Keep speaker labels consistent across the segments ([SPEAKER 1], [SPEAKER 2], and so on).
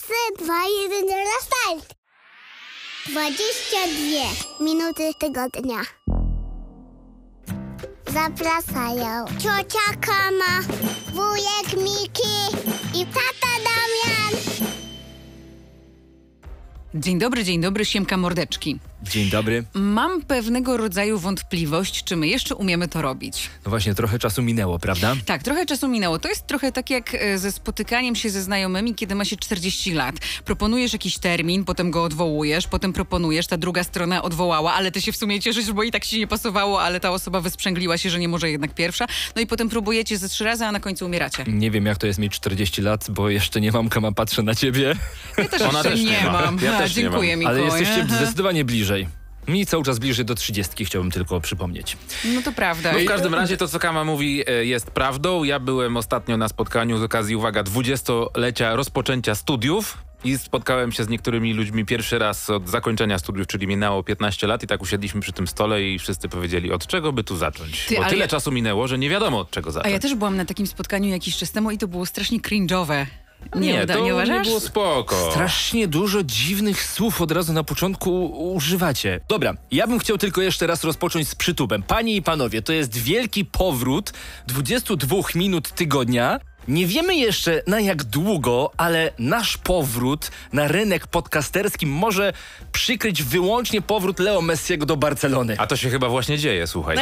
[SPEAKER 1] 3, 2, 1, 0, start! 22 minuty tygodnia. Zapraszają ciocia Kama, wujek Miki i tata Damian.
[SPEAKER 2] Dzień dobry, dzień dobry, siemka mordeczki.
[SPEAKER 3] Dzień dobry.
[SPEAKER 2] Mam pewnego rodzaju wątpliwość, czy my jeszcze umiemy to robić.
[SPEAKER 3] No właśnie, trochę czasu minęło, prawda?
[SPEAKER 2] Tak, trochę czasu minęło. To jest trochę tak jak e, ze spotykaniem się ze znajomymi, kiedy ma się 40 lat. Proponujesz jakiś termin, potem go odwołujesz, potem proponujesz, ta druga strona odwołała, ale ty się w sumie cieszysz, bo i tak ci nie pasowało, ale ta osoba wysprzęgliła się, że nie może jednak pierwsza. No i potem próbujecie ze trzy razy, a na końcu umieracie.
[SPEAKER 3] Nie wiem, jak to jest mieć 40 lat, bo jeszcze nie mam kama, patrzę na ciebie,
[SPEAKER 2] Ja też
[SPEAKER 4] Ona
[SPEAKER 2] jeszcze
[SPEAKER 4] też nie ma.
[SPEAKER 2] mam.
[SPEAKER 4] Ja
[SPEAKER 2] A,
[SPEAKER 4] też nie mam.
[SPEAKER 2] dziękuję,
[SPEAKER 3] ale
[SPEAKER 2] Mikołaj.
[SPEAKER 3] jesteście zdecydowanie bliżej. Mi cały czas bliżej do 30, chciałbym tylko przypomnieć.
[SPEAKER 2] No to prawda.
[SPEAKER 4] No w każdym razie to, co Kama mówi, e, jest prawdą. Ja byłem ostatnio na spotkaniu z okazji, uwaga, 20-lecia rozpoczęcia studiów. I spotkałem się z niektórymi ludźmi pierwszy raz od zakończenia studiów, czyli minęło 15 lat i tak usiedliśmy przy tym stole i wszyscy powiedzieli, od czego by tu zacząć?
[SPEAKER 2] Ty,
[SPEAKER 4] Bo
[SPEAKER 2] ale
[SPEAKER 4] tyle
[SPEAKER 2] ja-
[SPEAKER 4] czasu minęło, że nie wiadomo od czego
[SPEAKER 2] A
[SPEAKER 4] zacząć.
[SPEAKER 2] ja też byłam na takim spotkaniu jakiś czas temu i to było strasznie cringe'owe. Nie,
[SPEAKER 4] nie,
[SPEAKER 2] uda,
[SPEAKER 4] to
[SPEAKER 2] nie
[SPEAKER 4] nie
[SPEAKER 2] uważasz?
[SPEAKER 4] było spoko.
[SPEAKER 3] Strasznie dużo dziwnych słów od razu na początku używacie. Dobra, ja bym chciał tylko jeszcze raz rozpocząć z przytupem. Panie i panowie, to jest wielki powrót 22 minut tygodnia. Nie wiemy jeszcze na jak długo, ale nasz powrót na rynek podcasterski może przykryć wyłącznie powrót Leo Messiego do Barcelony.
[SPEAKER 4] A to się chyba właśnie dzieje,
[SPEAKER 2] No.
[SPEAKER 4] słuchaj.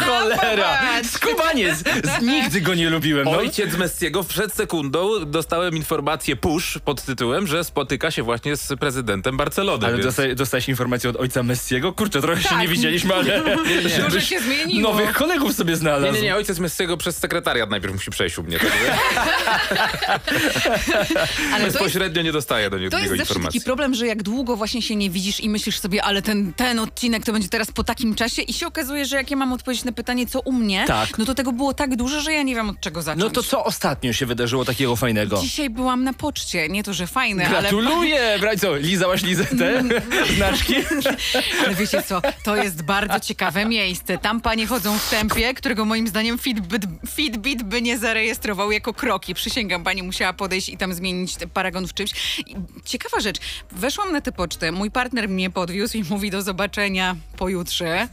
[SPEAKER 3] Cholera! Skubaniec! Z- Nigdy go nie lubiłem. No.
[SPEAKER 4] Ojciec Messiego przed sekundą dostałem informację push pod tytułem, że spotyka się właśnie z prezydentem Barcelony.
[SPEAKER 3] Ale
[SPEAKER 4] więc...
[SPEAKER 3] dosta- dostałeś informację od ojca Messiego? Kurczę, trochę się
[SPEAKER 2] Tak.
[SPEAKER 3] nie widzieliśmy, ale...
[SPEAKER 2] Dużo
[SPEAKER 3] żebyś
[SPEAKER 2] się zmieniło.
[SPEAKER 3] Nowych kolegów sobie
[SPEAKER 4] Nie,
[SPEAKER 3] znalazł.
[SPEAKER 4] nie, nie, ojciec Messiego przez sekretariat najpierw musi przejść u mnie. tak? Także
[SPEAKER 2] Ale to jest,
[SPEAKER 4] bezpośrednio nie dostaję do niego
[SPEAKER 2] to jest zawsze
[SPEAKER 4] informacji.
[SPEAKER 2] taki problem, że jak długo właśnie się nie widzisz i myślisz sobie, ale ten, ten odcinek to będzie teraz po takim czasie i się okazuje, że jak ja mam odpowiedzieć na pytanie, co u mnie,
[SPEAKER 3] Tak.
[SPEAKER 2] no to tego było tak dużo, że ja nie wiem od czego zacząć.
[SPEAKER 3] No to co ostatnio się wydarzyło takiego fajnego?
[SPEAKER 2] Dzisiaj byłam na poczcie, nie to, że fajne, ale... Mm.
[SPEAKER 3] Gratuluję! Brać co, lizałaś lizetę? Znaczki?
[SPEAKER 2] Ale No wiecie co, to jest bardzo ciekawe miejsce. Tam panie chodzą w tempie, którego moim zdaniem Fitbit, Fitbit by nie zarejestrował jako kroki. Przysięgam, pani musiała podejść i tam zmienić te paragon w czymś. I ciekawa rzecz, weszłam na tę pocztę, mój partner mnie podwiózł i mówi do zobaczenia pojutrze.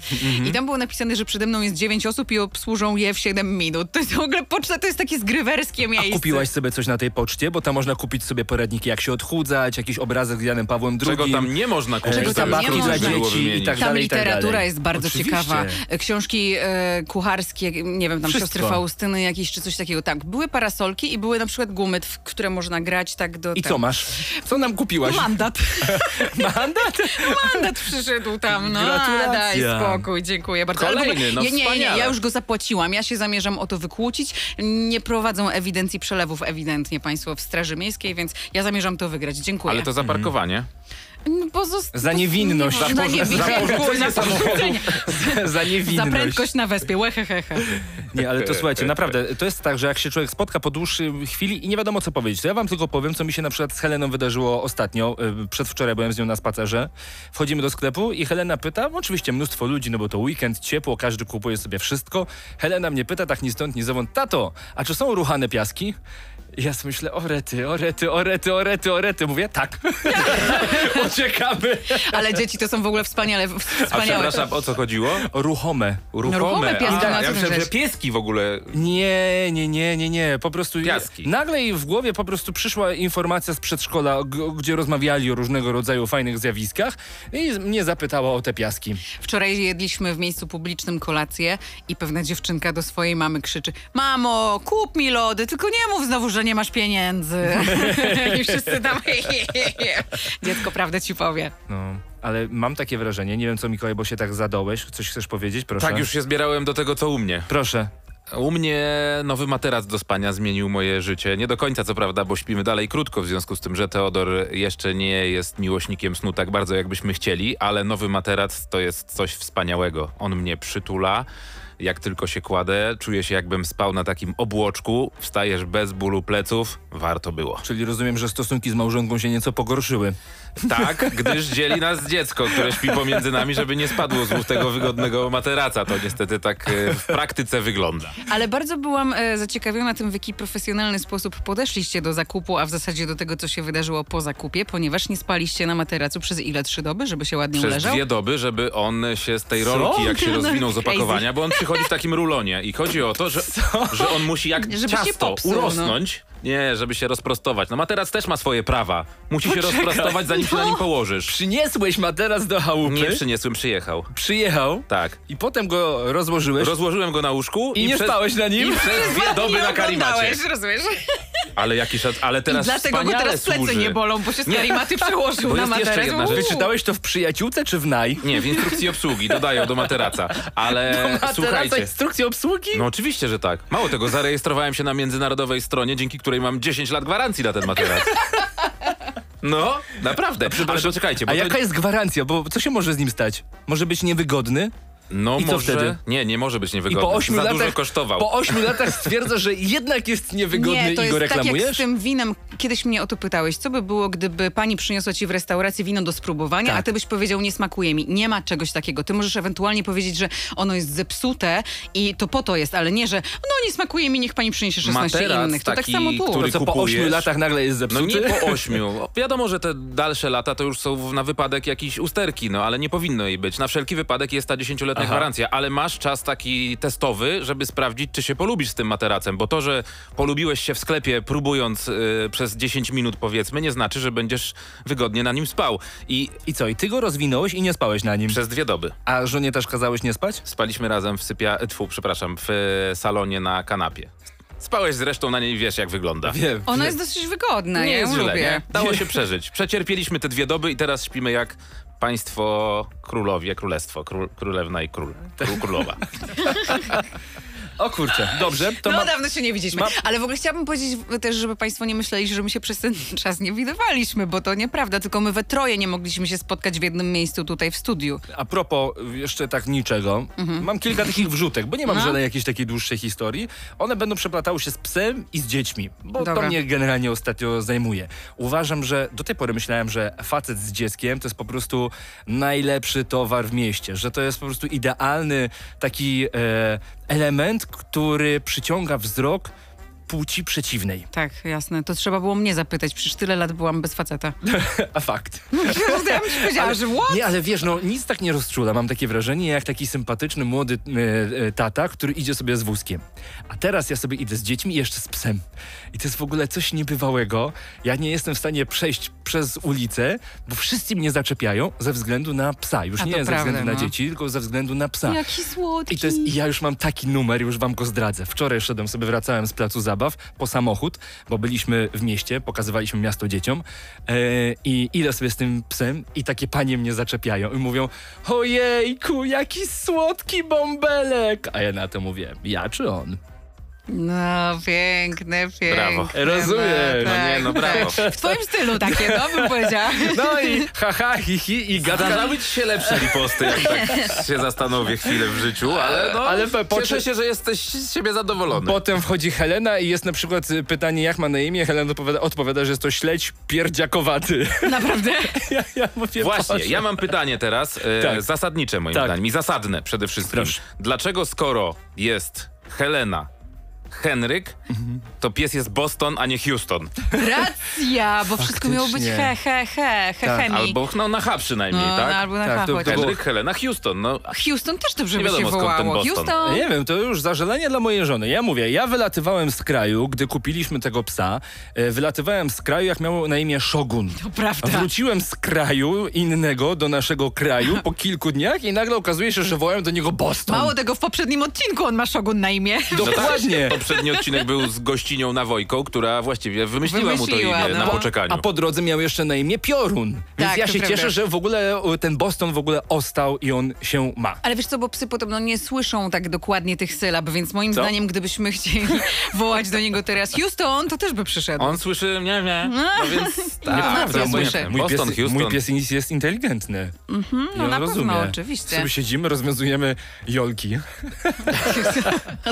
[SPEAKER 2] I tam było napisane, że przede mną jest dziewięć osób i obsłużą je w 7 minut. To jest w ogóle poczta, to jest takie zgrywerskie
[SPEAKER 3] A
[SPEAKER 2] miejsce.
[SPEAKER 3] kupiłaś sobie coś na tej poczcie? Bo tam można kupić sobie poradniki, jak się odchudzać, jakiś obrazek z Janem Pawłem II.
[SPEAKER 4] Czego tam nie można kupić,
[SPEAKER 2] Czego
[SPEAKER 4] to
[SPEAKER 2] tam
[SPEAKER 4] już
[SPEAKER 2] nie
[SPEAKER 4] trudno
[SPEAKER 2] można.
[SPEAKER 4] by było
[SPEAKER 3] Dzieci i
[SPEAKER 4] wymienić.
[SPEAKER 3] tak
[SPEAKER 2] Tam
[SPEAKER 3] dalej,
[SPEAKER 2] literatura
[SPEAKER 3] dalej.
[SPEAKER 2] jest bardzo
[SPEAKER 3] Oczywiście.
[SPEAKER 2] ciekawa. E, Książki e, kucharskie, nie wiem, tam
[SPEAKER 3] Wszystko.
[SPEAKER 2] siostry Faustyny jakieś czy coś takiego. Tak, były parasolki i były na przykład gumy, w które można grać tak do...
[SPEAKER 3] I
[SPEAKER 2] tak.
[SPEAKER 3] co masz? Co nam kupiłaś?
[SPEAKER 2] No Mandat.
[SPEAKER 3] Mandat?
[SPEAKER 2] Mandat przyszedł tam, no.
[SPEAKER 3] Gratulacja.
[SPEAKER 2] Daj spokój, dziękuję bardzo. Ale w
[SPEAKER 4] Kolejny, no
[SPEAKER 2] nie, nie, nie,
[SPEAKER 4] wspaniale.
[SPEAKER 2] ja już go zapłaciłam. Ja się zamierzam o to wykłócić. Nie prowadzą ewidencji przelewów ewidentnie państwo w Straży Miejskiej, więc ja zamierzam to wygrać. Dziękuję.
[SPEAKER 4] Ale to za parkowanie.
[SPEAKER 2] No, pozost-
[SPEAKER 3] Za niewinność.
[SPEAKER 2] Za niewinność.
[SPEAKER 3] Za porzucenie
[SPEAKER 2] Za porzucenie.
[SPEAKER 3] Za
[SPEAKER 2] Za
[SPEAKER 3] niewinność.
[SPEAKER 2] prędkość na wyspie, łehehehe.
[SPEAKER 3] Nie, ale to słuchajcie, naprawdę, to jest tak, że jak się człowiek spotka po dłuższej chwili i nie wiadomo co powiedzieć, to ja wam tylko powiem, co mi się na przykład z Heleną wydarzyło ostatnio. Y, Przedwczoraj byłem z nią na spacerze. Wchodzimy do sklepu i Helena pyta, oczywiście mnóstwo ludzi, no bo to weekend, ciepło, każdy kupuje sobie wszystko. Helena mnie pyta tak ni stąd, ni zowąd, tato, a czy są ruchane piaski? I ja sobie myślę, orety, orety, orety, orety, orety. Mówię, tak. Uciekamy.
[SPEAKER 2] Ale dzieci to są w ogóle wspaniale,
[SPEAKER 4] A
[SPEAKER 2] wspaniałe. No,
[SPEAKER 4] przepraszam, o co chodziło?
[SPEAKER 3] Ruchome.
[SPEAKER 4] Ruchome.
[SPEAKER 2] Ruchome piaski,
[SPEAKER 4] A, tak,
[SPEAKER 2] no,
[SPEAKER 4] ja
[SPEAKER 2] co
[SPEAKER 4] myślałem,
[SPEAKER 2] żeś.
[SPEAKER 4] że pieski w ogóle. Tak
[SPEAKER 3] Nie, nie, nie, nie, nie. Po prostu.
[SPEAKER 4] Piaski.
[SPEAKER 3] Nagle jej w głowie po prostu przyszła informacja z przedszkola, g- gdzie rozmawiali o różnego rodzaju fajnych zjawiskach i z- mnie zapytała o te piaski.
[SPEAKER 2] Wczoraj jedliśmy w miejscu publicznym kolację i pewna dziewczynka do swojej mamy krzyczy Mamo, kup mi lody, tylko nie mów znowu, że nie masz pieniędzy. I wszyscy tam Dziecko prawdę ci powie.
[SPEAKER 3] No, ale mam takie wrażenie, nie wiem co Mikołaj, bo się tak zadołeś. Coś chcesz powiedzieć? Proszę.
[SPEAKER 4] Tak już się zbierałem do tego, co u mnie.
[SPEAKER 3] Proszę.
[SPEAKER 4] U mnie nowy materac do spania zmienił moje życie. Nie do końca, co prawda, bo śpimy dalej krótko, w związku z tym, że Teodor jeszcze nie jest miłośnikiem snu tak bardzo, jakbyśmy chcieli, ale nowy materac to jest coś wspaniałego. On mnie przytula. Jak tylko się kładę, czuję się jakbym spał na takim obłoczku, wstajesz bez bólu pleców, warto było.
[SPEAKER 3] Czyli rozumiem, że stosunki z małżonką się nieco pogorszyły.
[SPEAKER 4] Tak, gdyż dzieli nas dziecko, które śpi pomiędzy nami, żeby nie spadło z ust tego wygodnego materaca. To niestety tak e, w praktyce wygląda.
[SPEAKER 2] Ale bardzo byłam e, zaciekawiona tym, w jaki profesjonalny sposób podeszliście do zakupu, a w zasadzie do tego, co się wydarzyło po zakupie, ponieważ nie spaliście na materacu przez ile? Trzy doby, żeby się ładnie
[SPEAKER 4] Przez
[SPEAKER 2] uleżał?
[SPEAKER 4] dwie doby, żeby on się z tej
[SPEAKER 3] Co?
[SPEAKER 4] rolki, jak się
[SPEAKER 2] No,
[SPEAKER 4] rozwinął z
[SPEAKER 2] crazy.
[SPEAKER 4] opakowania, bo on przychodzi w takim rulonie i chodzi o to, że, że on musi jak
[SPEAKER 2] Żeby się
[SPEAKER 4] ciasto
[SPEAKER 2] popsuł, no.
[SPEAKER 4] urosnąć. Nie, żeby się rozprostować. No materac też ma swoje prawa. Musi się
[SPEAKER 3] Poczekaj.
[SPEAKER 4] rozprostować, zanim się na nim
[SPEAKER 3] No.
[SPEAKER 4] położysz.
[SPEAKER 3] Przyniesłeś materac do chałupy,
[SPEAKER 4] Nie przyniosłem, przyjechał.
[SPEAKER 3] przyjechał
[SPEAKER 4] Tak.
[SPEAKER 3] i potem go rozłożyłeś
[SPEAKER 4] Rozłożyłem go na łóżku
[SPEAKER 3] i, nie
[SPEAKER 4] przez,
[SPEAKER 3] spałeś na
[SPEAKER 4] i
[SPEAKER 3] nim?
[SPEAKER 4] przez dwie doby
[SPEAKER 2] Nie
[SPEAKER 4] na karimacie.
[SPEAKER 2] oglądałeś, rozumiesz?
[SPEAKER 4] Ale jaki szac... Ale teraz
[SPEAKER 2] I dlatego go
[SPEAKER 4] wspaniale
[SPEAKER 2] teraz plecy
[SPEAKER 4] służy.
[SPEAKER 2] nie bolą, bo się z
[SPEAKER 4] Nie.
[SPEAKER 2] karimaty przełożył
[SPEAKER 4] Bo
[SPEAKER 2] na
[SPEAKER 4] jest jeszcze
[SPEAKER 2] materac.
[SPEAKER 4] jedna rzecz.
[SPEAKER 2] Uuu.
[SPEAKER 3] Wyczytałeś to w przyjaciółce czy w naj?
[SPEAKER 4] Nie, w instrukcji obsługi dodają do materaca. Ale
[SPEAKER 3] Materaca
[SPEAKER 4] słuchajcie.
[SPEAKER 3] instrukcję obsługi?
[SPEAKER 4] No oczywiście, że tak. Mało tego, zarejestrowałem się na międzynarodowej stronie, dzięki której mam 10 lat gwarancji na ten materac. No, naprawdę. Ale poczekajcie, bo
[SPEAKER 3] A
[SPEAKER 4] to...
[SPEAKER 3] jaka jest gwarancja? Bo co się może z nim stać? Może być niewygodny?
[SPEAKER 4] No
[SPEAKER 3] I co
[SPEAKER 4] może...
[SPEAKER 3] wtedy?
[SPEAKER 4] Nie, nie może być
[SPEAKER 3] I
[SPEAKER 4] niewygodny.
[SPEAKER 3] po ośmiu
[SPEAKER 4] Za
[SPEAKER 3] latach,
[SPEAKER 4] dużo kosztował.
[SPEAKER 3] Po ośmiu latach stwierdza, że jednak jest niewygodny
[SPEAKER 2] Nie, to
[SPEAKER 3] i
[SPEAKER 2] jest
[SPEAKER 3] go
[SPEAKER 2] tak jak z
[SPEAKER 3] reklamujesz?
[SPEAKER 2] tym winem. Kiedyś mnie o to pytałeś, co by było, gdyby pani przyniosła ci w restauracji wino do spróbowania,
[SPEAKER 3] Tak.
[SPEAKER 2] a ty byś powiedział, nie smakuje mi. Nie ma czegoś takiego. Ty możesz ewentualnie powiedzieć, że ono jest zepsute i to po to jest, ale nie, że no nie smakuje mi, niech pani przyniesie 16
[SPEAKER 4] Materac
[SPEAKER 2] innych. To
[SPEAKER 4] taki,
[SPEAKER 2] tak samo tu.
[SPEAKER 4] który-
[SPEAKER 3] Co po ośmiu
[SPEAKER 4] kupujesz?
[SPEAKER 3] latach nagle jest
[SPEAKER 4] No
[SPEAKER 3] zepsuty?
[SPEAKER 4] nie po ośmiu. Wiadomo, że te dalsze lata to już są w- na wypadek jakiejś usterki, no ale nie powinno jej być. Na wszelki wypadek jest ta 10-letnia
[SPEAKER 3] Aha.
[SPEAKER 4] gwarancja, ale masz czas taki testowy, żeby sprawdzić, czy się polubisz z tym materacem, bo to, że polubiłeś się w sklepie próbując y, przez 10 minut powiedzmy, nie znaczy, że będziesz wygodnie na nim spał. I
[SPEAKER 3] I co, i ty go rozwinąłeś i nie spałeś na nim?
[SPEAKER 4] przez dwie doby.
[SPEAKER 3] A żonie też kazałeś nie spać?
[SPEAKER 4] Spaliśmy razem w sypia... Tfu, przepraszam, w e, salonie na kanapie. Spałeś zresztą na niej, wiesz jak wygląda.
[SPEAKER 3] Wiem.
[SPEAKER 2] Ono jest dosyć wygodne,
[SPEAKER 4] nie
[SPEAKER 2] ja
[SPEAKER 4] jest
[SPEAKER 2] ją
[SPEAKER 4] źle,
[SPEAKER 2] lubię.
[SPEAKER 4] nie? Dało się przeżyć. Przecierpieliśmy te dwie doby i teraz śpimy jak państwo królowie, królestwo, król, królewna i król, król królowa.
[SPEAKER 3] O kurczę, dobrze. To
[SPEAKER 2] no
[SPEAKER 3] ma...
[SPEAKER 2] dawno się nie widzieliśmy.
[SPEAKER 3] ma-
[SPEAKER 2] Ale w ogóle chciałabym powiedzieć w- też, żeby państwo nie myśleli, że my się przez ten czas nie widywaliśmy, bo to nieprawda. Tylko my we troje nie mogliśmy się spotkać w jednym miejscu tutaj w studiu.
[SPEAKER 3] A propos jeszcze tak niczego, mam kilka takich wrzutek, bo nie mam
[SPEAKER 2] Mhm. No.
[SPEAKER 3] żadnej jakiejś takiej dłuższej historii. One będą przeplatały się z psem i z dziećmi, bo to
[SPEAKER 2] Dobra.
[SPEAKER 3] mnie generalnie ostatnio zajmuje. Uważam, że do tej pory myślałem, że facet z dzieckiem to jest po prostu najlepszy towar w mieście, że to jest po prostu idealny taki e, element, który przyciąga wzrok płci przeciwnej.
[SPEAKER 2] Tak, jasne. To trzeba było mnie zapytać, przecież tyle lat byłam bez faceta.
[SPEAKER 3] A fakt.
[SPEAKER 2] ja bym ci powiedziała, że what?
[SPEAKER 3] Nie, ale wiesz, no nic tak nie rozczula, mam takie wrażenie, jak taki sympatyczny młody e, e, tata, który idzie sobie z wózkiem. A teraz ja sobie idę z dziećmi i jeszcze z psem. I to jest w ogóle coś niebywałego. Ja nie jestem w stanie przejść przez ulicę, bo wszyscy mnie zaczepiają ze względu na psa. Już
[SPEAKER 2] A
[SPEAKER 3] nie
[SPEAKER 2] to
[SPEAKER 3] ze
[SPEAKER 2] prawda,
[SPEAKER 3] względu na
[SPEAKER 2] no.
[SPEAKER 3] dzieci, tylko ze względu na psa.
[SPEAKER 2] Jaki słodki.
[SPEAKER 3] I to jest, i ja już mam taki numer, już wam go zdradzę. Wczoraj szedłem sobie, wracałem z placu zabaw po samochód, bo byliśmy w mieście, pokazywaliśmy miasto dzieciom e, i idę sobie z tym psem i takie panie mnie zaczepiają i mówią ojejku, jaki słodki bąbelek! A ja na to mówię, ja czy on?
[SPEAKER 2] No, piękne, piękne.
[SPEAKER 4] Brawo.
[SPEAKER 3] Rozumiem.
[SPEAKER 4] No nie, no brawo.
[SPEAKER 2] W twoim stylu takie, no bym powiedziała.
[SPEAKER 3] No i haha, hi, hi i gada.
[SPEAKER 4] Zdarzały ci się lepsze riposty, jak tak się zastanowię chwilę w życiu, ale no,
[SPEAKER 3] Ale
[SPEAKER 4] ale
[SPEAKER 3] pe- po-
[SPEAKER 4] cieszę się, że jesteś z siebie zadowolony.
[SPEAKER 3] Potem wchodzi Helena i jest na przykład y, pytanie, jak ma na imię. Helena odpowiada, odpowiada że jest to śledź pierdziakowaty.
[SPEAKER 2] Naprawdę.
[SPEAKER 3] ja, ja mówię,
[SPEAKER 4] Właśnie,
[SPEAKER 3] Boże.
[SPEAKER 4] ja mam pytanie teraz, e,
[SPEAKER 3] Tak.
[SPEAKER 4] zasadnicze moim
[SPEAKER 3] Tak.
[SPEAKER 4] zdaniem i zasadne przede wszystkim.
[SPEAKER 3] Proszę.
[SPEAKER 4] Dlaczego skoro jest Helena Henryk,
[SPEAKER 3] Mhm.
[SPEAKER 4] to pies jest Boston, a nie Houston?
[SPEAKER 2] Racja, bo wszystko miało być he,
[SPEAKER 3] Faktycznie.
[SPEAKER 2] he, he, he,
[SPEAKER 3] Tak.
[SPEAKER 2] he mi.
[SPEAKER 4] Albo no, na H przynajmniej,
[SPEAKER 2] no,
[SPEAKER 4] tak?
[SPEAKER 2] no, albo na
[SPEAKER 3] Tak,
[SPEAKER 2] tak,
[SPEAKER 3] to- to było-
[SPEAKER 4] Henryk, Helena, Houston. No,
[SPEAKER 2] Houston też dobrze
[SPEAKER 4] Nie
[SPEAKER 2] by się
[SPEAKER 4] wiadomo, skąd ten
[SPEAKER 2] wołało.
[SPEAKER 4] Boston.
[SPEAKER 2] Houston.
[SPEAKER 3] Nie wiem, to już zażalenie dla mojej żony. Ja mówię, ja wylatywałem z kraju, gdy kupiliśmy tego psa. E, Wylatywałem z kraju, jak miał na imię Szogun.
[SPEAKER 2] To prawda.
[SPEAKER 3] Wróciłem z kraju innego do naszego kraju po kilku dniach i nagle okazuje się, że wołałem do niego Boston. No tak.
[SPEAKER 2] Mało tego, w poprzednim odcinku on ma szogun na imię.
[SPEAKER 3] Dokładnie.
[SPEAKER 4] No tak, poprzedni odcinek był z gościnią na Wojką, która właściwie wymyśliła, mu
[SPEAKER 2] Wymyśliła,
[SPEAKER 4] to imię na
[SPEAKER 2] no.
[SPEAKER 4] poczekaniu.
[SPEAKER 3] A po drodze miał jeszcze na imię Piorun. Więc
[SPEAKER 2] Tak,
[SPEAKER 3] ja
[SPEAKER 2] to
[SPEAKER 3] się
[SPEAKER 2] prawda.
[SPEAKER 3] cieszę, że w ogóle e, ten Boston w ogóle ostał i on się ma.
[SPEAKER 2] Ale wiesz co, bo psy podobno nie słyszą tak dokładnie tych sylab, więc moim
[SPEAKER 3] Co?
[SPEAKER 2] zdaniem, gdybyśmy chcieli wołać do niego teraz Houston, to też by przyszedł.
[SPEAKER 4] On słyszy, nie, nie. No więc tak,
[SPEAKER 2] Nieprawda,
[SPEAKER 4] to
[SPEAKER 2] mój- słyszę.
[SPEAKER 4] mój Boston,
[SPEAKER 3] pies,
[SPEAKER 4] Houston.
[SPEAKER 3] mój pies jest- jest inteligentny. I
[SPEAKER 2] no
[SPEAKER 3] on
[SPEAKER 2] na pewno,
[SPEAKER 3] rozumie.
[SPEAKER 2] oczywiście.
[SPEAKER 3] Sobie siedzimy, rozwiązujemy jolki.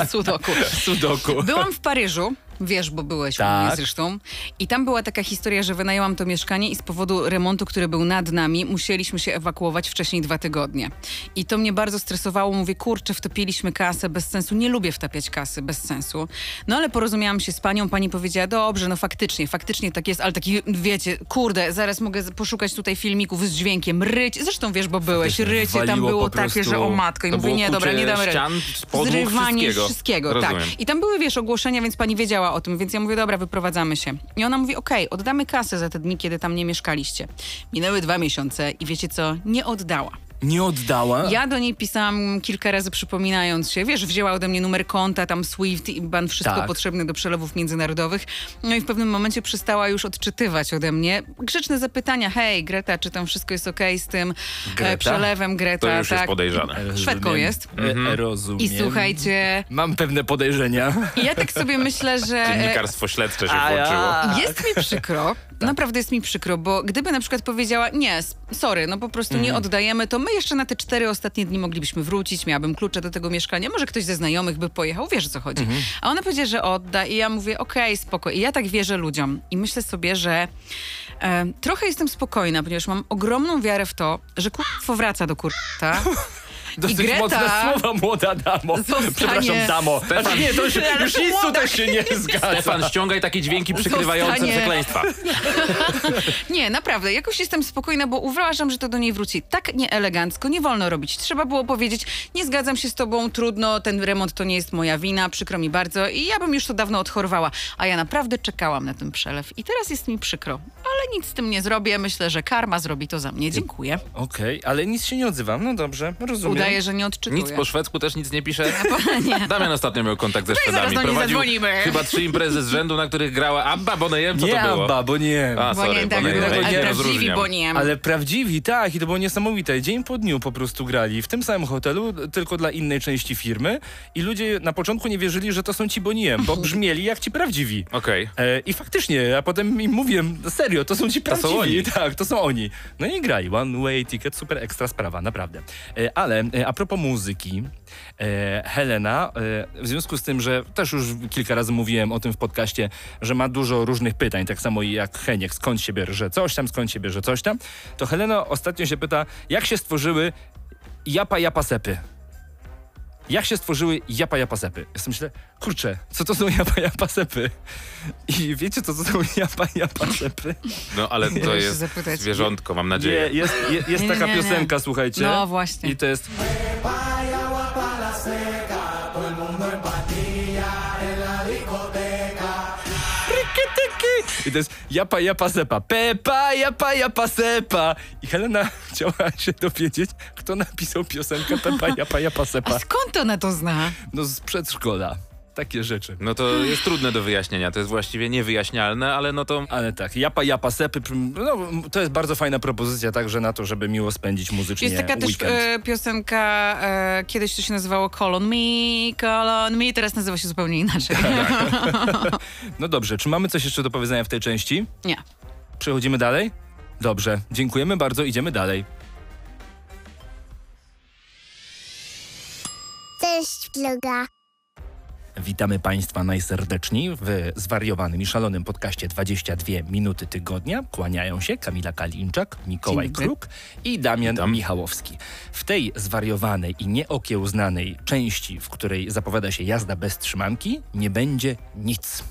[SPEAKER 2] Sudoku.
[SPEAKER 3] Sudoku.
[SPEAKER 2] Byłam w Paryżu. Wiesz, bo byłeś
[SPEAKER 3] Tak.
[SPEAKER 2] u mnie zresztą. I tam była taka historia, że wynajęłam to mieszkanie i z powodu remontu, który był nad nami, musieliśmy się ewakuować wcześniej dwa tygodnie. I to mnie bardzo stresowało. Mówię, kurczę, wtopiliśmy kasę bez sensu. Nie lubię wtapiać kasy bez sensu. No ale porozumiałam się z panią. Pani powiedziała, dobrze, no faktycznie, faktycznie tak jest, ale taki, wiecie, kurde, zaraz mogę z- poszukać tutaj filmików z dźwiękiem. Ryć, zresztą wiesz, bo byłeś,
[SPEAKER 3] Faktycznie,
[SPEAKER 2] rycie tam
[SPEAKER 3] waliło
[SPEAKER 2] było
[SPEAKER 3] po
[SPEAKER 2] takie, że
[SPEAKER 3] prostu-
[SPEAKER 2] o matko. I
[SPEAKER 4] to
[SPEAKER 2] mówię,
[SPEAKER 4] było
[SPEAKER 2] nie, dobra, nie
[SPEAKER 4] kucie
[SPEAKER 2] damy
[SPEAKER 4] ścian,
[SPEAKER 2] rady.
[SPEAKER 4] podłóg,
[SPEAKER 2] Zrywanie
[SPEAKER 4] wszystkiego.
[SPEAKER 2] wszystkiego, tak.
[SPEAKER 4] Rozumiem.
[SPEAKER 2] I tam były, wiesz, ogłoszenia, więc pani wiedziała o tym, więc ja mówię, dobra, wyprowadzamy się. I ona mówi, okej, oddamy kasę za te dni, kiedy tam nie mieszkaliście. Minęły dwa miesiące i wiecie co, nie oddała.
[SPEAKER 3] Nie oddała?
[SPEAKER 2] Ja do niej pisałam kilka razy przypominając się, wiesz, wzięła ode mnie numer konta, tam SWIFT i ban, wszystko
[SPEAKER 3] Tak.
[SPEAKER 2] potrzebne do przelewów międzynarodowych. No i w pewnym momencie przestała już odczytywać ode mnie grzeczne zapytania, hej Greta, czy tam wszystko jest okej z tym e,
[SPEAKER 3] Greta?
[SPEAKER 2] przelewem Greta?
[SPEAKER 4] To już
[SPEAKER 2] tak.
[SPEAKER 4] jest podejrzane.
[SPEAKER 3] Rozumiem.
[SPEAKER 2] Szwedką jest.
[SPEAKER 3] E, Rozumiem.
[SPEAKER 2] I słuchajcie,
[SPEAKER 3] Mam pewne podejrzenia.
[SPEAKER 2] i ja tak sobie myślę, że... e,
[SPEAKER 4] Dziennikarstwo śledcze się włączyło.
[SPEAKER 2] Jest mi przykro, naprawdę jest mi przykro, bo gdyby na przykład powiedziała, nie, s- sorry, no po prostu nie oddajemy, to my jeszcze na te cztery ostatnie dni moglibyśmy wrócić, miałabym klucze do tego mieszkania, może ktoś ze znajomych by pojechał, wiesz o co chodzi. A ona powiedziała, że odda i ja mówię, okej, spoko. I ja tak wierzę ludziom i myślę sobie, że e, trochę jestem spokojna, ponieważ mam ogromną wiarę w to, że kurwa wraca do kurta.
[SPEAKER 3] Dosyć
[SPEAKER 2] Greta
[SPEAKER 3] mocne słowa, młoda damo.
[SPEAKER 2] zostanie-
[SPEAKER 3] Przepraszam, damo. Znaczy, nie, to już,
[SPEAKER 2] Ale
[SPEAKER 3] już
[SPEAKER 2] to
[SPEAKER 3] nic
[SPEAKER 2] młoda.
[SPEAKER 3] tutaj się nie zgadza.
[SPEAKER 4] Stefan, ściągaj takie dźwięki przykrywające
[SPEAKER 2] Zostanie.
[SPEAKER 4] przekleństwa.
[SPEAKER 2] Nie, naprawdę, jakoś jestem spokojna, bo uważam, że to do niej wróci. Tak nieelegancko nie wolno robić. Trzeba było powiedzieć, nie zgadzam się z tobą, trudno, ten remont to nie jest moja wina, przykro mi bardzo i ja bym już to dawno odchorowała. A ja naprawdę czekałam na ten przelew i teraz jest mi przykro, ale nic z tym nie zrobię. Myślę, że karma zrobi to za mnie. Dziękuję.
[SPEAKER 3] Okej, ale nic się nie odzywam. No dobrze, rozumiem.
[SPEAKER 2] Udaję, że nie odczytuję.
[SPEAKER 4] Nic po szwedzku też nic nie pisze.
[SPEAKER 2] nie. No
[SPEAKER 4] Damian ostatnio miał kontakt ze
[SPEAKER 2] i zaraz
[SPEAKER 4] Szwedami.
[SPEAKER 2] do niej
[SPEAKER 4] Prowadził
[SPEAKER 2] zadzwonimy.
[SPEAKER 4] chyba trzy imprezy z rzędu, na których grała Abba Bonejem. Co
[SPEAKER 3] nie,
[SPEAKER 4] to było?
[SPEAKER 3] Abba, bo nie.
[SPEAKER 4] A,
[SPEAKER 2] Bo
[SPEAKER 4] sorry,
[SPEAKER 2] nie, tak,
[SPEAKER 4] Bonnie M.
[SPEAKER 3] Bonnie
[SPEAKER 2] ale
[SPEAKER 3] M.
[SPEAKER 2] prawdziwi,
[SPEAKER 4] Rozróżniam.
[SPEAKER 2] bo nie.
[SPEAKER 3] Ale prawdziwi, tak, i to było niesamowite. Dzień po dniu po prostu grali w tym samym hotelu, tylko dla innej części firmy. I ludzie na początku nie wierzyli, że to są ci Boniem, bo brzmieli jak ci prawdziwi.
[SPEAKER 4] Okej.
[SPEAKER 3] E, I faktycznie, a potem im mówię, serio, to są ci
[SPEAKER 4] To są
[SPEAKER 3] prawdziwi.
[SPEAKER 4] oni.
[SPEAKER 3] Tak, to są oni. No i graj, one way ticket, super ekstra sprawa, naprawdę. E, Ale e, a propos muzyki, e, Helena, e, w związku z tym, że też już kilka razy mówiłem o tym w podcaście, że ma dużo różnych pytań, tak samo jak Heniek, skąd się bierze coś tam, skąd się bierze coś tam, to Helena ostatnio się pyta, jak się stworzyły japa japa sepy. Jak się stworzyły japa japa sepy? Ja sobie myślę, kurczę, co to są japa japa sepy? I wiecie, co to są japa japa sepy?
[SPEAKER 4] No ale to
[SPEAKER 2] Muszę
[SPEAKER 4] jest
[SPEAKER 2] zapytać.
[SPEAKER 4] zwierzątko, mam
[SPEAKER 3] Je,
[SPEAKER 4] nadzieję.
[SPEAKER 3] jest je, jest
[SPEAKER 2] Nie,
[SPEAKER 3] taka
[SPEAKER 2] nie, nie.
[SPEAKER 3] piosenka, słuchajcie.
[SPEAKER 2] No właśnie.
[SPEAKER 3] I to jest... Rykityki. I to jest japa japa sepa, pepa japa japa sepa. I Helena chciała się dowiedzieć, kto napisał piosenkę pepa japa japa
[SPEAKER 2] A
[SPEAKER 3] sepa.
[SPEAKER 2] skąd ona to zna?
[SPEAKER 3] No z przedszkola. Takie rzeczy.
[SPEAKER 4] No to jest trudne do wyjaśnienia, to jest właściwie niewyjaśnialne, ale no to
[SPEAKER 3] Ale tak, japa, japa, sepy, pr- no, m- to jest bardzo fajna propozycja także na to, żeby miło spędzić muzycznie
[SPEAKER 2] Jest taka też
[SPEAKER 3] weekend.
[SPEAKER 2] e, piosenka, e, kiedyś to się nazywało Colon Me, Colon Me, teraz nazywa się zupełnie inaczej.
[SPEAKER 3] No dobrze, czy mamy coś jeszcze do powiedzenia w tej części?
[SPEAKER 2] Nie.
[SPEAKER 3] Przechodzimy dalej? Dobrze, dziękujemy bardzo, idziemy dalej.
[SPEAKER 1] Cześć, vloga.
[SPEAKER 3] Witamy Państwa najserdeczniej w zwariowanym i szalonym podcaście 22 minuty tygodnia. Kłaniają się Kamila Kalinczak, Mikołaj
[SPEAKER 2] Dzień dobry.
[SPEAKER 3] Kruk i Damian
[SPEAKER 4] Witam.
[SPEAKER 3] Michałowski. W tej zwariowanej i nieokiełznanej części, w której zapowiada się jazda bez trzymanki, nie będzie nic.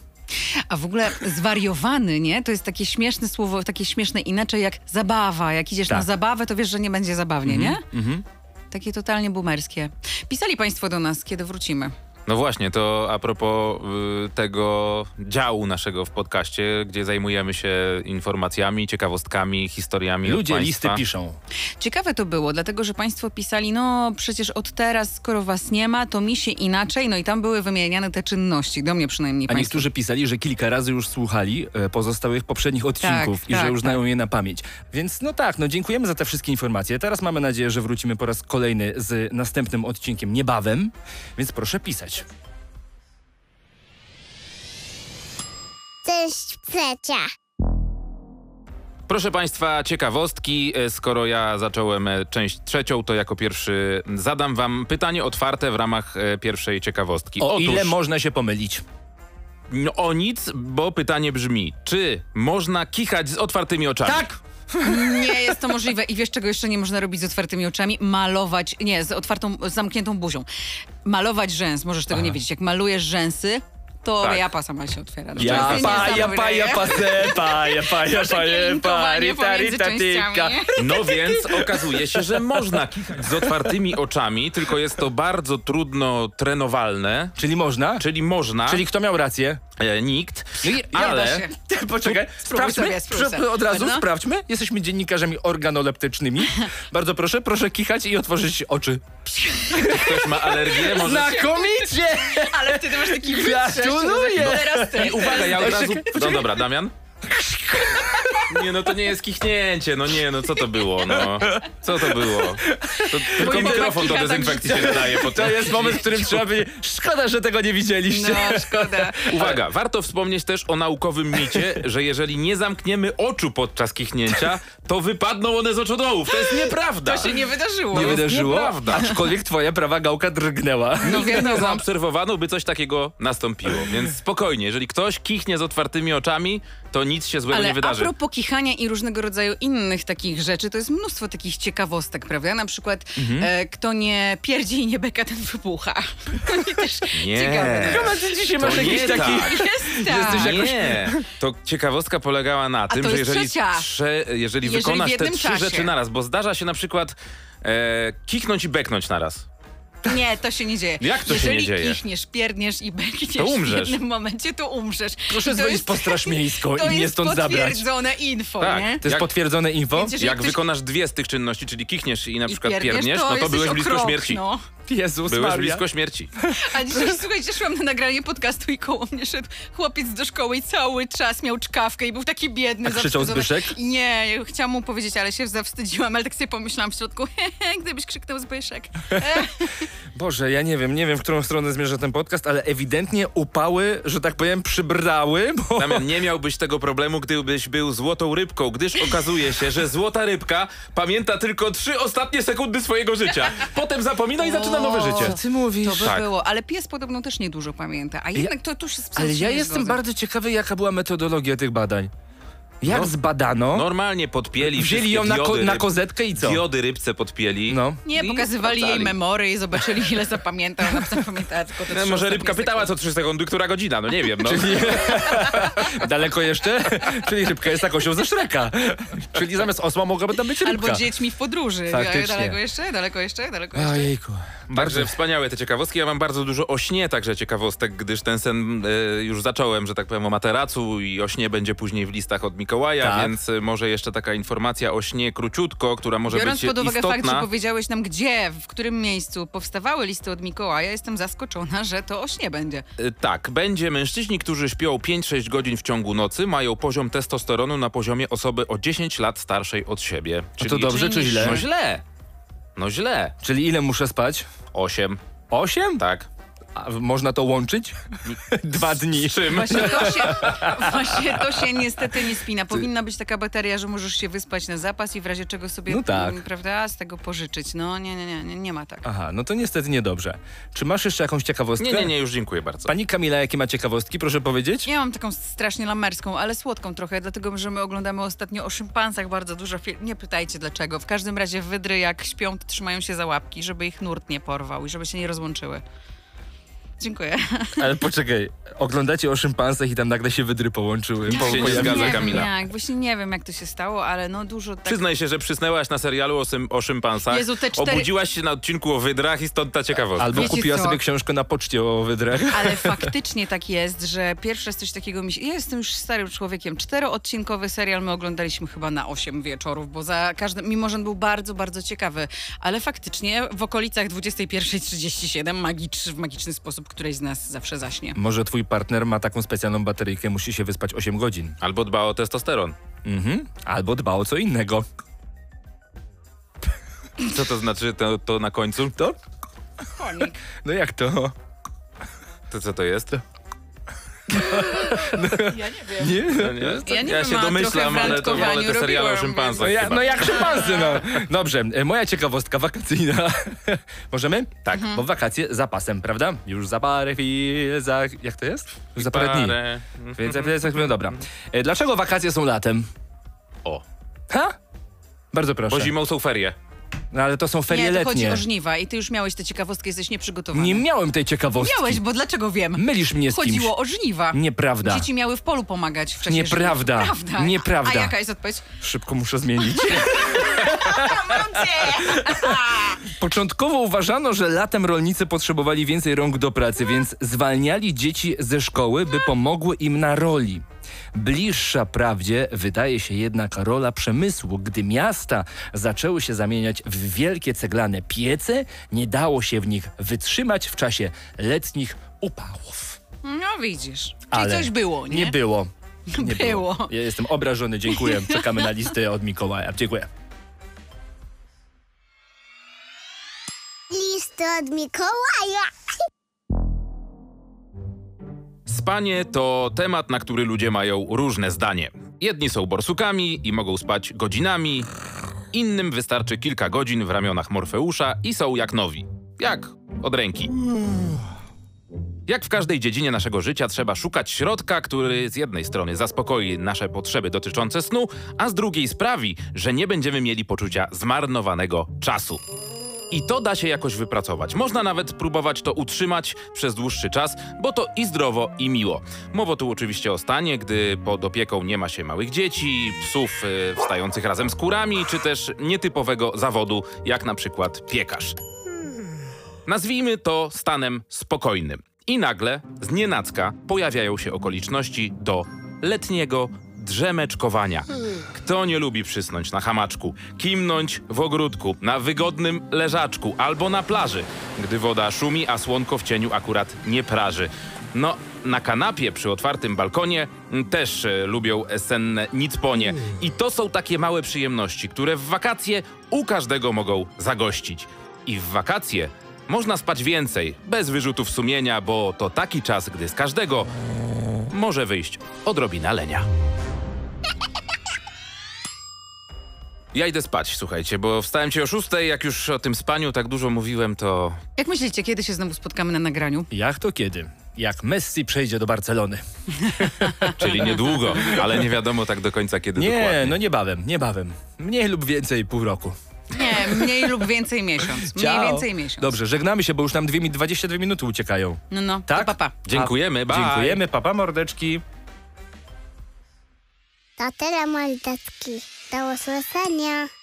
[SPEAKER 2] A w ogóle zwariowany, nie? To jest takie śmieszne słowo, takie śmieszne inaczej jak zabawa. Jak idziesz na
[SPEAKER 3] Tak. Mhm,
[SPEAKER 2] zabawę, to wiesz, że nie będzie zabawnie, nie? Takie totalnie boomerskie. Pisali państwo do nas, kiedy wrócimy.
[SPEAKER 4] No właśnie, to a propos y, tego działu naszego w podcaście, gdzie zajmujemy się informacjami, ciekawostkami, historiami. od
[SPEAKER 3] Ludzie listy
[SPEAKER 4] państwa.
[SPEAKER 3] piszą.
[SPEAKER 2] Ciekawe to było, dlatego że państwo pisali, no przecież od teraz, skoro was nie ma, to mi się inaczej, no i tam były wymieniane te czynności, do mnie przynajmniej
[SPEAKER 3] A
[SPEAKER 2] państwo.
[SPEAKER 3] niektórzy pisali, że kilka razy już słuchali e, pozostałych poprzednich odcinków i
[SPEAKER 2] tak,
[SPEAKER 3] że już
[SPEAKER 2] tak.
[SPEAKER 3] znają je na pamięć. Więc no tak, no dziękujemy za te wszystkie informacje. Teraz mamy nadzieję, że wrócimy po raz kolejny z następnym odcinkiem niebawem, więc proszę pisać.
[SPEAKER 1] Cześć, Precia.
[SPEAKER 4] Proszę Państwa, ciekawostki. E, Skoro ja zacząłem e, część trzecią, to jako pierwszy zadam Wam pytanie otwarte w ramach e, pierwszej ciekawostki.
[SPEAKER 3] O
[SPEAKER 4] Otóż,
[SPEAKER 3] ile można się pomylić?
[SPEAKER 4] no, o nic, bo pytanie brzmi, czy można kichać z otwartymi oczami?
[SPEAKER 3] Tak!
[SPEAKER 2] Nie jest to możliwe i wiesz czego jeszcze nie można robić z otwartymi oczami? Malować, nie, z otwartą, z zamkniętą buzią. Malować rzęs, możesz tego nie wiedzieć. Jak malujesz rzęsy, to
[SPEAKER 4] Tak.
[SPEAKER 2] japa sama się otwiera. No, to
[SPEAKER 3] Ja
[SPEAKER 2] jest
[SPEAKER 3] pa, ja
[SPEAKER 2] niesamowite,
[SPEAKER 3] pa, ja
[SPEAKER 2] nie?
[SPEAKER 3] pa, se, pa, ja pa, ja pa, ja pa,
[SPEAKER 2] linkowanie
[SPEAKER 3] rita,
[SPEAKER 2] pomiędzy
[SPEAKER 3] rita,
[SPEAKER 2] częściami,
[SPEAKER 3] tyka.
[SPEAKER 2] nie?
[SPEAKER 4] No więc okazuje się, że można kichać z otwartymi oczami, tylko jest to bardzo trudno trenowalne.
[SPEAKER 3] Czyli można?
[SPEAKER 4] Czyli można,
[SPEAKER 3] Czyli No kto miał rację?
[SPEAKER 4] e, nikt,
[SPEAKER 2] Nie da
[SPEAKER 4] ale...
[SPEAKER 2] No się.
[SPEAKER 3] Poczekaj,
[SPEAKER 2] Spróbuj
[SPEAKER 3] sprawdźmy.
[SPEAKER 2] sobie, spróbuj
[SPEAKER 3] Prze-
[SPEAKER 2] sobie.
[SPEAKER 3] Od razu
[SPEAKER 2] No.
[SPEAKER 3] sprawdźmy. Jesteśmy dziennikarzami organoleptycznymi. Bardzo proszę, proszę kichać i otworzyć oczy.
[SPEAKER 4] ktoś ma alergię, może...
[SPEAKER 3] Znakomicie!
[SPEAKER 2] Ale wtedy masz taki
[SPEAKER 3] Gratuluję!
[SPEAKER 2] no Teraz ty.
[SPEAKER 4] I uwaga, ja od
[SPEAKER 3] Jeszcze-
[SPEAKER 4] razu... No dobra, Damian. Nie, no to nie jest kichnięcie, no nie, no co to było, no. Co to było? To tylko
[SPEAKER 2] Mój
[SPEAKER 4] mikrofon do
[SPEAKER 2] kicha tak
[SPEAKER 4] dezynfekcji się nadaje po
[SPEAKER 3] To jest moment, w którym trzeba by. Szkoda, że tego nie widzieliście.
[SPEAKER 2] No, szkoda.
[SPEAKER 4] Uwaga, warto wspomnieć też o naukowym micie, że jeżeli nie zamkniemy oczu podczas kichnięcia, to wypadną one z oczodołów. To jest nieprawda.
[SPEAKER 2] To się nie wydarzyło.
[SPEAKER 3] Nie wydarzyło,
[SPEAKER 4] nieprawda.
[SPEAKER 3] aczkolwiek twoja prawa gałka drgnęła.
[SPEAKER 2] No
[SPEAKER 4] Nie
[SPEAKER 2] wiadomo.
[SPEAKER 4] zaobserwowano, by coś takiego nastąpiło. Więc spokojnie, jeżeli ktoś kichnie z otwartymi oczami, to nic się złego nie
[SPEAKER 2] Ale a
[SPEAKER 4] wydarzy.
[SPEAKER 2] propos kichania i różnego rodzaju innych takich rzeczy, to jest mnóstwo takich ciekawostek, prawda? Na przykład,
[SPEAKER 4] Mhm.
[SPEAKER 2] e, kto nie pierdzi i nie beka, ten wybucha. To nie też
[SPEAKER 4] Nie.
[SPEAKER 2] ciekawe.
[SPEAKER 3] Chyba ty dzisiaj
[SPEAKER 4] To
[SPEAKER 3] masz
[SPEAKER 4] nie
[SPEAKER 3] jakiś taki.
[SPEAKER 4] tak.
[SPEAKER 2] Jest tak.
[SPEAKER 4] Jesteś jakoś... Nie, to ciekawostka polegała na tym,
[SPEAKER 2] to
[SPEAKER 4] że
[SPEAKER 2] jest
[SPEAKER 4] jeżeli,
[SPEAKER 2] trzecia.
[SPEAKER 4] trze, jeżeli
[SPEAKER 2] Jeżeli
[SPEAKER 4] wykonasz
[SPEAKER 2] w
[SPEAKER 4] te
[SPEAKER 2] jednym
[SPEAKER 4] trzy
[SPEAKER 2] czasie.
[SPEAKER 4] rzeczy naraz, bo zdarza się na przykład e, kichnąć i beknąć naraz.
[SPEAKER 2] Nie, to się nie dzieje.
[SPEAKER 4] Jak to się
[SPEAKER 2] Jeżeli
[SPEAKER 4] nie dzieje?
[SPEAKER 2] kichniesz, pierdniesz i bekniesz
[SPEAKER 4] To umrzesz.
[SPEAKER 2] w jednym momencie, to umrzesz.
[SPEAKER 3] Proszę
[SPEAKER 2] I to
[SPEAKER 3] dzwonić
[SPEAKER 2] jest,
[SPEAKER 3] po straż miejską
[SPEAKER 2] to
[SPEAKER 3] i mnie
[SPEAKER 2] jest
[SPEAKER 3] stąd zabrać.
[SPEAKER 2] potwierdzone info,
[SPEAKER 4] Tak,
[SPEAKER 2] nie?
[SPEAKER 3] To jest
[SPEAKER 4] Jak-
[SPEAKER 3] potwierdzone info?
[SPEAKER 2] Więc jeżeli
[SPEAKER 4] Jak
[SPEAKER 2] ktoś-
[SPEAKER 4] wykonasz dwie z tych czynności, czyli kichniesz i na
[SPEAKER 2] i
[SPEAKER 4] przykład pierdniesz, no to
[SPEAKER 2] jesteś
[SPEAKER 4] byłeś
[SPEAKER 2] o
[SPEAKER 4] blisko
[SPEAKER 2] krok,
[SPEAKER 4] śmierci.
[SPEAKER 2] No.
[SPEAKER 3] Jezus
[SPEAKER 4] Byłeś
[SPEAKER 3] Maria.
[SPEAKER 4] blisko śmierci.
[SPEAKER 2] A dzisiaj, słuchajcie, szłam na nagranie podcastu i koło mnie szedł chłopiec do szkoły i cały czas miał czkawkę i był taki biedny.
[SPEAKER 3] A krzyczał
[SPEAKER 2] zawstydzony.
[SPEAKER 3] Zbyszek?
[SPEAKER 2] Nie, ja chciałam mu powiedzieć, ale się zawstydziłam, ale tak sobie pomyślałam w środku, hehe, gdybyś krzyknął Zbyszek.
[SPEAKER 3] Boże, ja nie wiem, nie wiem, w którą stronę zmierza ten podcast, ale ewidentnie upały, że tak powiem, przybrały, bo...
[SPEAKER 4] Damian, nie miałbyś tego problemu, gdybyś był złotą rybką, gdyż okazuje się, że złota rybka pamięta tylko trzy ostatnie sekundy swojego życia. Potem zapomina i zaczyna nowe życie.
[SPEAKER 3] Co ty mówisz?
[SPEAKER 2] To by
[SPEAKER 4] Tak.
[SPEAKER 2] było, ale pies podobno też niedużo pamięta, a jednak to, to się z psem
[SPEAKER 3] Ale
[SPEAKER 2] się
[SPEAKER 3] ja
[SPEAKER 2] nie
[SPEAKER 3] jestem
[SPEAKER 2] zgodzę.
[SPEAKER 3] bardzo ciekawy, jaka była metodologia tych badań. Jak
[SPEAKER 4] No.
[SPEAKER 3] zbadano?
[SPEAKER 4] Normalnie podpieli.
[SPEAKER 3] Wzięli
[SPEAKER 4] wszystkie
[SPEAKER 3] ją na, ko-
[SPEAKER 4] diody
[SPEAKER 3] na
[SPEAKER 4] ryb-
[SPEAKER 3] kozetkę i co?
[SPEAKER 4] Diody rybce podpieli. E,
[SPEAKER 3] No.
[SPEAKER 2] Nie,
[SPEAKER 4] I
[SPEAKER 2] pokazywali jej
[SPEAKER 4] sprawdzali.
[SPEAKER 2] memory i zobaczyli, ile zapamięta. Ona zapamiętała tylko te
[SPEAKER 4] No,
[SPEAKER 2] trzy
[SPEAKER 4] może
[SPEAKER 2] ostatnie
[SPEAKER 4] rybka pytała co trzy sekundy, która godzina, no nie wiem. No.
[SPEAKER 3] Czyli... Daleko jeszcze? Czyli rybka jest taką osią ze Szreka. Czyli zamiast osła mogłaby tam być rybka.
[SPEAKER 2] Albo dziećmi w podróży.
[SPEAKER 3] Faktycznie.
[SPEAKER 2] Daleko jeszcze, daleko jeszcze, daleko jeszcze.
[SPEAKER 3] Ojejku.
[SPEAKER 4] Także wspaniałe te ciekawostki. Ja mam bardzo dużo o śnie także ciekawostek, gdyż ten sen e, już zacząłem, że tak powiem, o materacu i o śnie będzie później w listach od Mikołaja,
[SPEAKER 3] Tak.
[SPEAKER 4] więc e, może jeszcze taka informacja o śnie króciutko, która może
[SPEAKER 2] Biorąc
[SPEAKER 4] być
[SPEAKER 2] pod uwagę
[SPEAKER 4] istotna.
[SPEAKER 2] fakt, że powiedziałeś nam, gdzie, w którym miejscu powstawały listy od Mikołaja, jestem zaskoczona, że to o śnie będzie.
[SPEAKER 4] E, Tak, będzie mężczyźni, którzy śpią 5-6 godzin w ciągu nocy, mają poziom testosteronu na poziomie osoby o 10 lat starszej od siebie.
[SPEAKER 3] A to dobrze czy źle?
[SPEAKER 4] No źle. No źle.
[SPEAKER 3] Czyli ile muszę spać?
[SPEAKER 4] 8.
[SPEAKER 3] Osiem?
[SPEAKER 4] Tak.
[SPEAKER 3] A w- można to łączyć? Dwa dni.
[SPEAKER 4] Czym?
[SPEAKER 2] Właśnie to się, właśnie to się niestety nie spina. Powinna być taka bateria, że możesz się wyspać na zapas i w razie czego sobie,
[SPEAKER 3] No tak.
[SPEAKER 2] m, prawda, z tego pożyczyć. No nie, nie, nie, nie, nie ma tak.
[SPEAKER 3] Aha, no to niestety niedobrze. Czy masz jeszcze jakąś ciekawostkę?
[SPEAKER 4] Nie, nie, nie, już dziękuję bardzo.
[SPEAKER 3] Pani Kamila, jakie ma ciekawostki, proszę powiedzieć?
[SPEAKER 2] Ja mam taką strasznie lamerską, ale słodką trochę, dlatego że my oglądamy ostatnio o szympansach bardzo dużo film. Nie pytajcie dlaczego. W każdym razie wydry jak śpią, to trzymają się za łapki, żeby ich nurt nie porwał i żeby się nie rozłączyły. Dziękuję.
[SPEAKER 3] Ale poczekaj, oglądacie o szympansach i tam nagle się wydry połączyły. Po,
[SPEAKER 4] Tak Się nie
[SPEAKER 3] pojawiły.
[SPEAKER 4] zgadza,
[SPEAKER 2] nie
[SPEAKER 4] Kamila.
[SPEAKER 2] Wiem, jak, właśnie nie wiem, jak to się stało, ale no dużo tak...
[SPEAKER 4] Przyznaj się, że przysnęłaś na serialu o, sym, o szympansach.
[SPEAKER 2] Jezu, te cztery-
[SPEAKER 4] Obudziłaś się na odcinku o wydrach i stąd ta ciekawostka.
[SPEAKER 3] Albo
[SPEAKER 2] Wiecie
[SPEAKER 3] kupiła
[SPEAKER 2] co?
[SPEAKER 3] sobie książkę na poczcie o wydrach.
[SPEAKER 2] Ale faktycznie tak jest, że pierwszy raz coś takiego mi się... Ja jestem już starym człowiekiem. Czteroodcinkowy serial my oglądaliśmy chyba na osiem wieczorów, bo za każdym... Mimo, że on był bardzo, bardzo ciekawy. Ale faktycznie w okolicach 21.37 magicz, w magiczny sposób któryś z nas zawsze zaśnie.
[SPEAKER 3] Może twój partner ma taką specjalną bateryjkę, musi się wyspać 8 godzin.
[SPEAKER 4] Albo dba o testosteron.
[SPEAKER 3] Mhm. Albo dba o co innego.
[SPEAKER 4] Co to znaczy to, to na końcu?
[SPEAKER 3] To?
[SPEAKER 2] Konik.
[SPEAKER 3] No jak to?
[SPEAKER 4] To co to jest?
[SPEAKER 2] Ja nie wiem.
[SPEAKER 3] No Nie?
[SPEAKER 4] To nie jest?
[SPEAKER 2] Ja nie
[SPEAKER 4] ja
[SPEAKER 2] wiem,
[SPEAKER 4] się
[SPEAKER 2] a
[SPEAKER 4] domyślam,
[SPEAKER 2] trochę w
[SPEAKER 4] ale to wolę te
[SPEAKER 2] randkowaniu
[SPEAKER 4] seriale o
[SPEAKER 2] robiłam,
[SPEAKER 4] szympansach
[SPEAKER 3] No, ja,
[SPEAKER 4] chyba.
[SPEAKER 3] no jak szympansy, no. Dobrze, e, moja ciekawostka wakacyjna. Możemy? Tak.
[SPEAKER 2] Mhm.
[SPEAKER 3] Bo wakacje za pasem, prawda? Już za parę chwil, za... Jak to jest? Już za parę, dni.
[SPEAKER 4] Parę.
[SPEAKER 3] Więc
[SPEAKER 2] Mhm.
[SPEAKER 3] ja za chwilę, dobra. E, Dlaczego wakacje są latem?
[SPEAKER 4] O.
[SPEAKER 3] Ha? Bardzo
[SPEAKER 4] Bo
[SPEAKER 3] proszę.
[SPEAKER 4] zimą są ferie.
[SPEAKER 3] No ale to są ferie
[SPEAKER 2] Nie, to chodzi
[SPEAKER 3] letnie.
[SPEAKER 2] o żniwa i ty już miałeś tę ciekawostkę, jesteś nieprzygotowany.
[SPEAKER 3] Nie miałem tej ciekawostki.
[SPEAKER 2] Miałeś, bo dlaczego wiem?
[SPEAKER 3] Mylisz mnie z kimś.
[SPEAKER 2] Chodziło o żniwa.
[SPEAKER 3] Nieprawda.
[SPEAKER 2] Dzieci miały w polu pomagać w czasie
[SPEAKER 3] Nieprawda.
[SPEAKER 2] żniw. Prawda.
[SPEAKER 3] Nieprawda.
[SPEAKER 2] A jaka jest odpowiedź?
[SPEAKER 3] Szybko muszę zmienić.
[SPEAKER 2] Ludzie!
[SPEAKER 3] Początkowo uważano, że latem rolnicy potrzebowali więcej rąk do pracy, więc zwalniali dzieci ze szkoły, by pomogły im na roli. Bliższa prawdzie wydaje się jednak rola przemysłu. Gdy miasta zaczęły się zamieniać w wielkie ceglane piece, nie dało się w nich wytrzymać w czasie letnich upałów.
[SPEAKER 2] No widzisz. Czyli
[SPEAKER 3] Ale
[SPEAKER 2] coś było, nie?
[SPEAKER 3] Nie było. Nie
[SPEAKER 2] Było.
[SPEAKER 3] Ja jestem obrażony, dziękuję. Czekamy na listę od Mikołaja. Dziękuję.
[SPEAKER 1] Listy od Mikołaja.
[SPEAKER 4] Spanie to temat, na który ludzie mają różne zdanie. Jedni są borsukami i mogą spać godzinami, innym wystarczy kilka godzin w ramionach Morfeusza i są jak nowi. Jak od ręki. Jak w każdej dziedzinie naszego życia trzeba szukać środka, który z jednej strony zaspokoi nasze potrzeby dotyczące snu, a z drugiej sprawi, że nie będziemy mieli poczucia zmarnowanego czasu. I to da się jakoś wypracować. Można nawet próbować to utrzymać przez dłuższy czas, bo to i zdrowo, i miło. Mowa tu oczywiście o stanie, gdy pod opieką nie ma się małych dzieci, psów y, wstających razem z kurami, czy też nietypowego zawodu, jak na przykład piekarz. Nazwijmy to stanem spokojnym. I nagle, z nienacka, pojawiają się okoliczności do letniego drzemeczkowania. Kto nie lubi przysnąć na hamaczku, kimnąć w ogródku, na wygodnym leżaczku albo na plaży, gdy woda szumi, a słonko w cieniu akurat nie praży. No, na kanapie przy otwartym balkonie m, też e, lubią senne nicponie. I to są takie małe przyjemności, które w wakacje u każdego mogą zagościć. I w wakacje można spać więcej, bez wyrzutów sumienia, bo to taki czas, gdy z każdego może wyjść odrobina lenia. Ja idę spać, słuchajcie, bo wstałem cię o szóstej, jak już o tym spaniu tak dużo mówiłem, to...
[SPEAKER 2] Jak myślicie, kiedy się znowu spotkamy na nagraniu?
[SPEAKER 3] Jak to kiedy? Jak Messi przejdzie do Barcelony.
[SPEAKER 4] Czyli niedługo, ale nie wiadomo tak do końca, kiedy
[SPEAKER 3] Nie,
[SPEAKER 4] dokładnie.
[SPEAKER 3] no niebawem, niebawem. Mniej lub więcej pół roku.
[SPEAKER 2] Nie, mniej lub więcej miesiąc. Mniej
[SPEAKER 3] Ciao.
[SPEAKER 2] więcej miesiąc.
[SPEAKER 3] Dobrze, żegnamy się, bo już nam dwie mi- 22 minuty uciekają.
[SPEAKER 2] No, no. to
[SPEAKER 3] Tak?
[SPEAKER 2] Pa, pa.
[SPEAKER 4] Dziękujemy, bye.
[SPEAKER 3] Dziękujemy, papa mordeczki.
[SPEAKER 1] To tyle, mordeczki. Do usłyszenia.